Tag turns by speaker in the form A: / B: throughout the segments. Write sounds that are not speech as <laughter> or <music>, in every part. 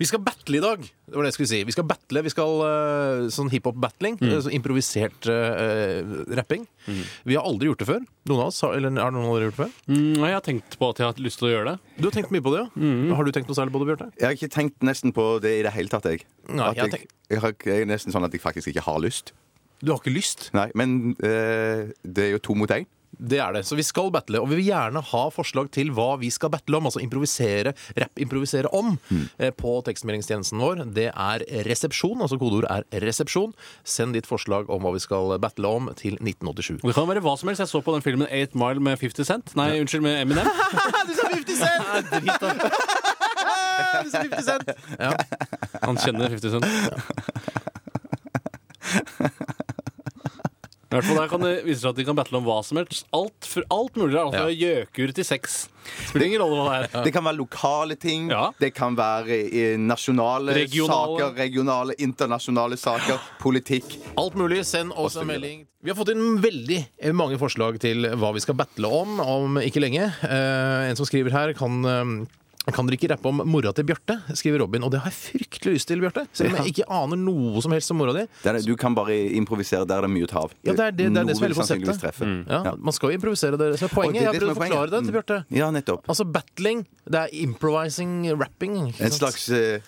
A: Vi skal battle i dag. Det var det jeg skulle si. Vi skal battle. Vi skal eh, sånn hiphop-battling. eh, så Improvisert eh, rapping. Vi har aldri gjort det før. Noen av oss har, eller har noen aldri gjort det før?
B: Mm, og jeg har tenkt på at jeg har hatt lyst til å gjøre det.
A: Du har tenkt mye på det, ja. Har du tenkt noe særlig på det, Bjarte?
C: Jeg har ikke tenkt nesten på det i det hele tatt, jeg.
A: Nei,
C: At
A: jeg
C: jeg, jeg, har, jeg er nesten sånn at jeg faktisk ikke har lyst.
A: Du har ikke lyst?
C: Nei, Men eh, det er jo to mot én.
A: Det er det. Så vi skal battle, og vi vil gjerne ha forslag til hva vi skal battle om. Altså improvisere, rapp-improvisere om eh, på tekstmeldingstjenesten vår. Det er resepsjon, altså kodeord er resepsjon. Send ditt forslag om hva vi skal battle om til 1987.
B: Og det kan være hva som helst. Jeg så på den filmen 8 Mile med 50 Cent. Nei, unnskyld, med Eminem.
A: du sa 50 Cent! <laughs> du sa 50 Cent! Ja.
B: Han kjenner 50 Cent. I hvert fall Der kan det vise seg at de kan battle om hva som helst. Alt, for alt mulig. Alt fra gjøkur til sex. Spiller ingen rolle hva det er.
C: Det kan være lokale ting,
B: Ja.
C: det kan være eh, nasjonale
B: Regionale.
C: saker, regionale, internasjonale saker, politikk.
A: Alt mulig. Send oss en melding. Vi har fått inn veldig mange forslag til hva vi skal battle om om ikke lenge. Eh, en som skriver her, kan eh, kan dere ikke rappe om mora til Bjarte? skriver Robin. Og det har jeg fryktelig lyst til, Bjarte. Selv om jeg ikke aner noe som helst om mora di.
C: Der, er- du kan bare improvisere der det er mye å ta av.
A: Ja, det er det- det er det
C: Noe
A: som er hele
C: vil sannsynligvis
A: konseptet.
C: treffe.
A: Ja,
C: Mm. Ja.
A: man skal jo improvisere det. Så
C: Og
A: poenget,
C: det
A: jeg
C: er
A: har
C: det som
A: prøvd å
C: er
A: forklare det
C: poenget.
A: til Bjarte.
C: Mm. Ja, nettopp.
A: Altså battling, det er improvising, rapping. ikke
C: En
A: sant?
C: slags eh,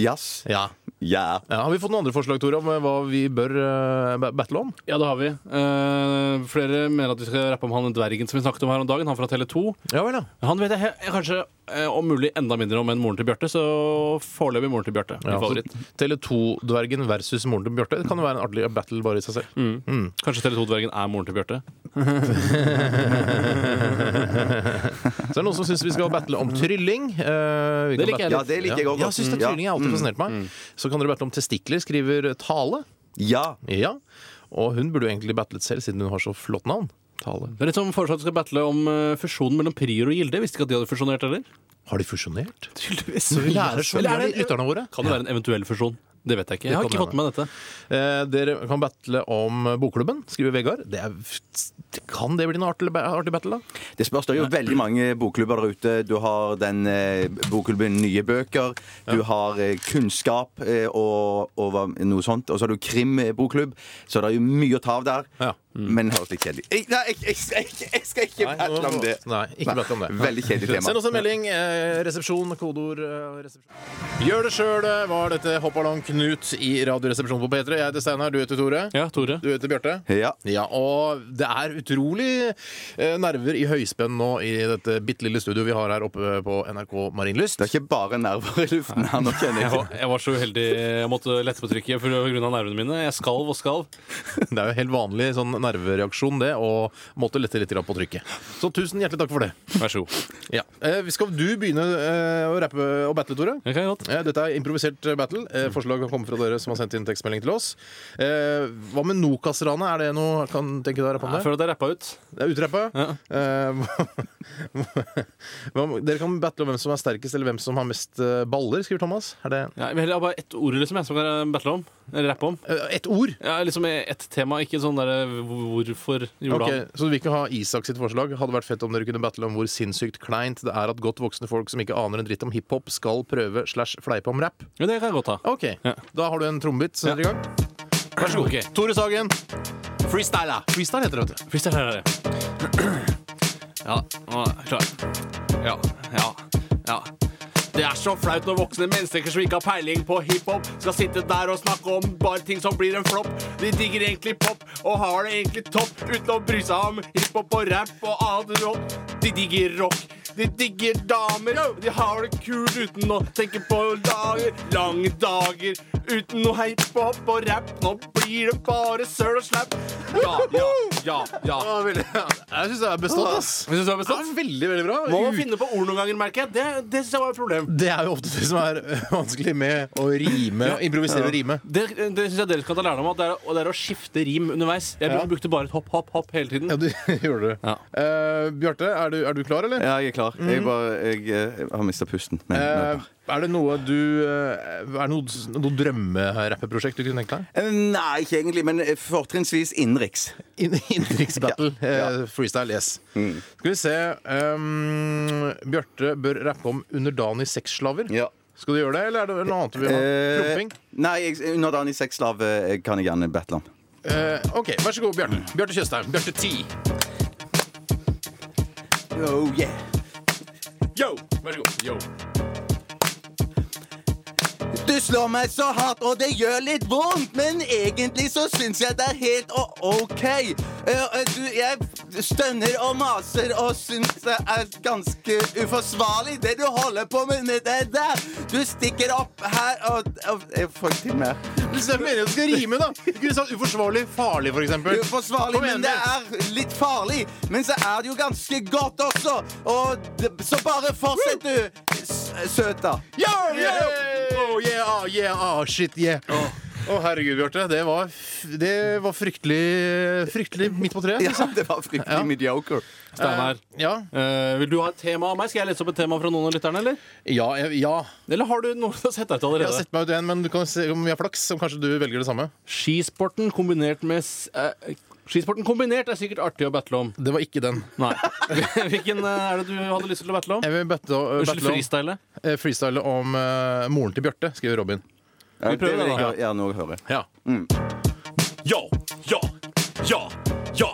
C: jazz.
A: ja.
C: Ja.
A: ja. Har vi fått noen andre forslag, Tore, om hva vi bør eh, ba- battle om?
B: Ja, det har vi. Eh, flere mener at vi skal rappe om han dvergen som vi snakket om her om dagen. Han fra Tele2.
A: Ja vel, ja.
B: Han vet jeg he- kanskje eh, om mulig enda mindre om enn moren til Bjarte, så foreløpig moren til Bjarte. min
A: Ja,
B: favoritt.
A: så Tele2-dvergen versus moren til Bjarte. Det kan jo være en artig battle bare i seg selv.
B: Mm. Kanskje Tele2-dvergen er moren til Bjarte?
A: Så er det noen som syns vi skal battle om trylling. Eh, vi
B: Det
A: kan
B: liker jeg
A: battle-
C: Ja, det liker jeg òg.
A: Ja, Mm. jeg syns det er trylling jeg har alltid fascinert meg. Så kan dere battle om testikler, skriver Tale.
C: Ja.
A: Ja. Og hun burde jo egentlig battlet selv, siden hun har så flott navn. Tale.
B: Det er litt som foreslått at vi skal battle om eh, fusjonen mellom Prior og Gilde. Visste ikke at de hadde fusjonert heller.
A: Har de fusjonert?
B: <laughs> Tydeligvis.
A: Så vi lærer så mye av
B: Eller er
A: de
B: det-
A: lytterne våre.
B: Kan det være en eventuell fusjon? Det vet jeg ikke. Jeg har
A: Det kan
B: ikke fått med meg dette.
A: Eh, dere kan battle om Bokklubben, skriver Vegard. Det er, kan det bli noe artig, artig battle, da?
C: Det spørs det er jo veldig mange bokklubber der ute. Du har den eh, bokklubben Nye bøker, du har eh, Kunnskap eh, og, og hva, noe sånt. Og så har du Krim-bokklubb, så det er jo mye å ta av der.
A: Ja. Mm.
C: Men det høres litt kjedelig Jeg- Nei, jeg, jeg, jeg, jeg skal ikke battle om det.
A: Nei, ikke battle om det.
C: Veldig kjedelig
A: Send
C: tema.
A: oss en melding. Eh, resepsjon, kodeord eh, resepsjon. Gjør det sjøl, var dette Hoppalong Knut i Radioresepsjonen på P3. Jeg heter Steinar, du heter Tore.
B: Ja, Tore.
A: Du heter Bjarte.
C: Ja.
A: Ja, og det er utrolig eh, nerver i høyspenn nå i dette bitte lille studioet vi har her oppe på NRK Marienlyst.
C: Det er ikke bare nerver i luften her nå, kjenner
B: Jeg
C: jeg.
B: var, jeg var så uheldig. eh, Jeg måtte lette på trykket pga. nervene mine. Jeg skalv og skalv.
A: Det er jo helt vanlig sånn nervereaksjon, det, og måtte lette litt grann på trykket. Så tusen hjertelig takk for det.
B: Vær så god.
A: Ja. Eh, skal du begynne eh, å rappe og battle, Tore?
B: Jeg kan godt.
A: Eh, Dette er improvisert eh, battle. Eh, Forslag kan komme fra dere som har sendt inn tekstmelding til oss. Eh, Hva med Nokas-ranet? Er det noe kan tenke deg å rappe om
B: Jeg
A: det?
B: føler at jeg rappa ut.
A: Det er utrappa.
B: Ja.
A: Eh, <laughs> hva- hva- Dere kan battle om hvem som er sterkest, eller hvem som har mest eh, baller, skriver Thomas. Er det
B: Ja, jeg vil heller ha bare ett ord liksom, jeg som kan battle om. Eller rappe om.
A: Eh, ett ord?
B: Ja, liksom ett tema, ikke sånn derre hvorfor gjorde
A: Ok, så du vil ikke ha Isak sitt forslag? Hadde vært fett om dere kunne battle om hvor sinnssykt kleint det er at godt voksne folk som ikke aner en dritt om hiphop, skal prøve slash fleipe om rap.
B: han. Ja, det kan jeg godt ta.
A: Ok,
B: Ja.
A: Da har du en trommebit. Sett i gang.
B: Vær så god. Okay.
A: Tore Sagen. Freestyle, da. Freestyle heter det, vet du.
B: Freestyle her er det. Ja, nå er jeg klar. Ja, ja, ja. Det er så flaut når voksne mennesker som ikke har peiling på hiphop, skal sitte der og snakke om bare ting som blir en flopp. De digger egentlig pop og har det egentlig topp, uten å bry seg om hiphop og rap og annet rock. De digger rock. De digger damer. De har det kult uten å tenke på dager. Lange dager uten noe hiphop og rap. Nå blir det bare søl og slapp. Ja, ja, ja. ja.
A: Jeg syns det er bestått, ass.
B: Jeg synes det
A: Det
B: var bestemt.
A: er veldig, veldig bra.
B: Må
A: Ut-
B: man finne på ord noen ganger, merker jeg. Det, det synes jeg var et problem.
A: Det er jo ofte det som er øh, vanskelig med å rime. å Improvisere og rime.
B: Det, det synes jeg dere kan ta lærdom av. Det er, og det er å skifte rim underveis. Jeg
A: Ja.
B: brukte bare et hopp, hopp, hopp hele tiden.
A: Ja, du <laughs> gjør det.
B: Ja.
A: Eh, Bjarte, er du, er du klar, eller?
C: Ja, jeg er klar. Jeg, bare, jeg, eh, har mista pusten. Men, nå er jeg
A: Mm. Eh,
C: klar.
A: er det noe du eh, Er det noe, noe drømmerappeprosjekt du kunne tenkt deg?
C: Eh, Nei, ikke egentlig, men eh, fortrinnsvis innenriks.
A: In Innenriksbattle. eh, freestyle, yes. ehm, Skal vi se um, Bjarte bør rappe om underdanig sexslaver.
C: Ja.
A: Skal du gjøre det, eller er det noe annet du vil ha? Promping?
C: Eh, nei, jeg, underdanig sexslav eh, kan jeg gjerne battle om.
A: Eh, OK, vær så god, Bjarte. Bjarte Tjøstheim. Bjarte 10.
C: Oh, yeah.
B: Yo! Vær så god. Yo.
C: Du slår meg så hardt, og det gjør litt vondt, men egentlig så syns jeg det er helt o- OK. Eh, eh, Du, jeg stønner og maser og syns det er ganske uforsvarlig, det du holder på med med det der. Du stikker opp her og, og Jeg får ikke til mer.
A: Jeg mener jo det skal rime, da! Du kunne sagt uforsvarlig farlig, for eksempel.
C: Uforsvarlig,
A: Kom igjen,
C: men det er litt farlig. Men så er det jo ganske godt også. Og det, så bare fortsett, du. s- Søta.
A: Ja, ja, ja. Oh, yeah, ah, yeah, ah, shit, yeah. Å, herregud, Bjarte. Det var, f- det var fryktelig fryktelig midt på treet.
C: Ja, det var fryktelig mediocre.
B: Steinar.
A: Ja.
B: eh, vil du ha et tema av meg? Skal jeg lese opp et tema fra noen av lytterne? Eller
A: Ja, jeg, ja.
B: Eller har du noe du har sett deg ut
A: Jeg har
B: allerede?
A: sett meg ut igjen, men du kan se om vi har flaks, om kanskje du velger det samme.
B: Skisporten kombinert med s- eh, Skisporten kombinert er sikkert artig å battle om.
A: Det var ikke den.
B: Nei. <laughs> Hvilken eh, er det du hadde lyst til å battle om?
A: Jeg vil bette,
B: Unnskyld,
A: battle om,
B: freestyle?
A: eh, freestyle om eh, moren til Bjarte, skriver Robin.
C: Vi
B: prøver det, da.
C: Ja, nå hører jeg.
A: Ja.
B: Ja, ja, ja, ja.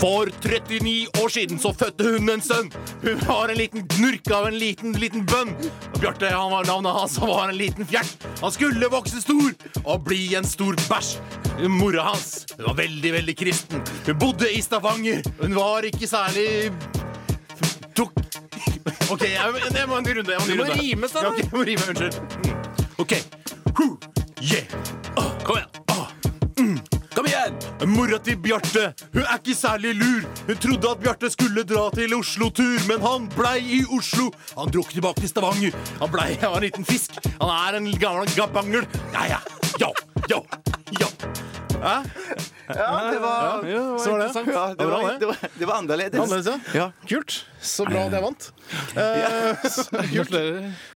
A: For 39 år siden så fødte hun en sønn. Hun var en liten gnurk av en liten, liten bønn. Og Bjarte, han var navnet hans, han var en liten fjert. Han skulle vokse stor og bli en stor bæsj. Mora hans hun var veldig, veldig kristen. Hun bodde i Stavanger. Hun var ikke særlig Tok OK, jeg, jeg må ha en ny runde. Jeg må, ha en ny
B: Du må
A: runde.
B: rime, Steinar.
A: Ja, ok, jeg må rime, unnskyld. Mm. OK. Huh. Yeah. Ah.
B: Kom igjen.
A: Kom igjen! Mora til Bjarte, hun er ikke særlig lur. Hun trodde at Bjarte skulle dra til Oslo-tur, men han blei i Oslo. Han drukk tilbake til Stavanger. Han blei av en liten fisk. Han er en gammel gabangel. Ja, ja. Ja, ja. ja.
C: Ja, det
B: Ja,
C: var
B: det var
A: Så var det.
B: interessant.
C: Ja, det
A: bra,
C: var,
A: det.
C: det var, det var annerledes.
B: <laughs>
A: Annerledes, ja. Kult. Så bra at jeg vant. Eh, kult.
B: Gratulerer.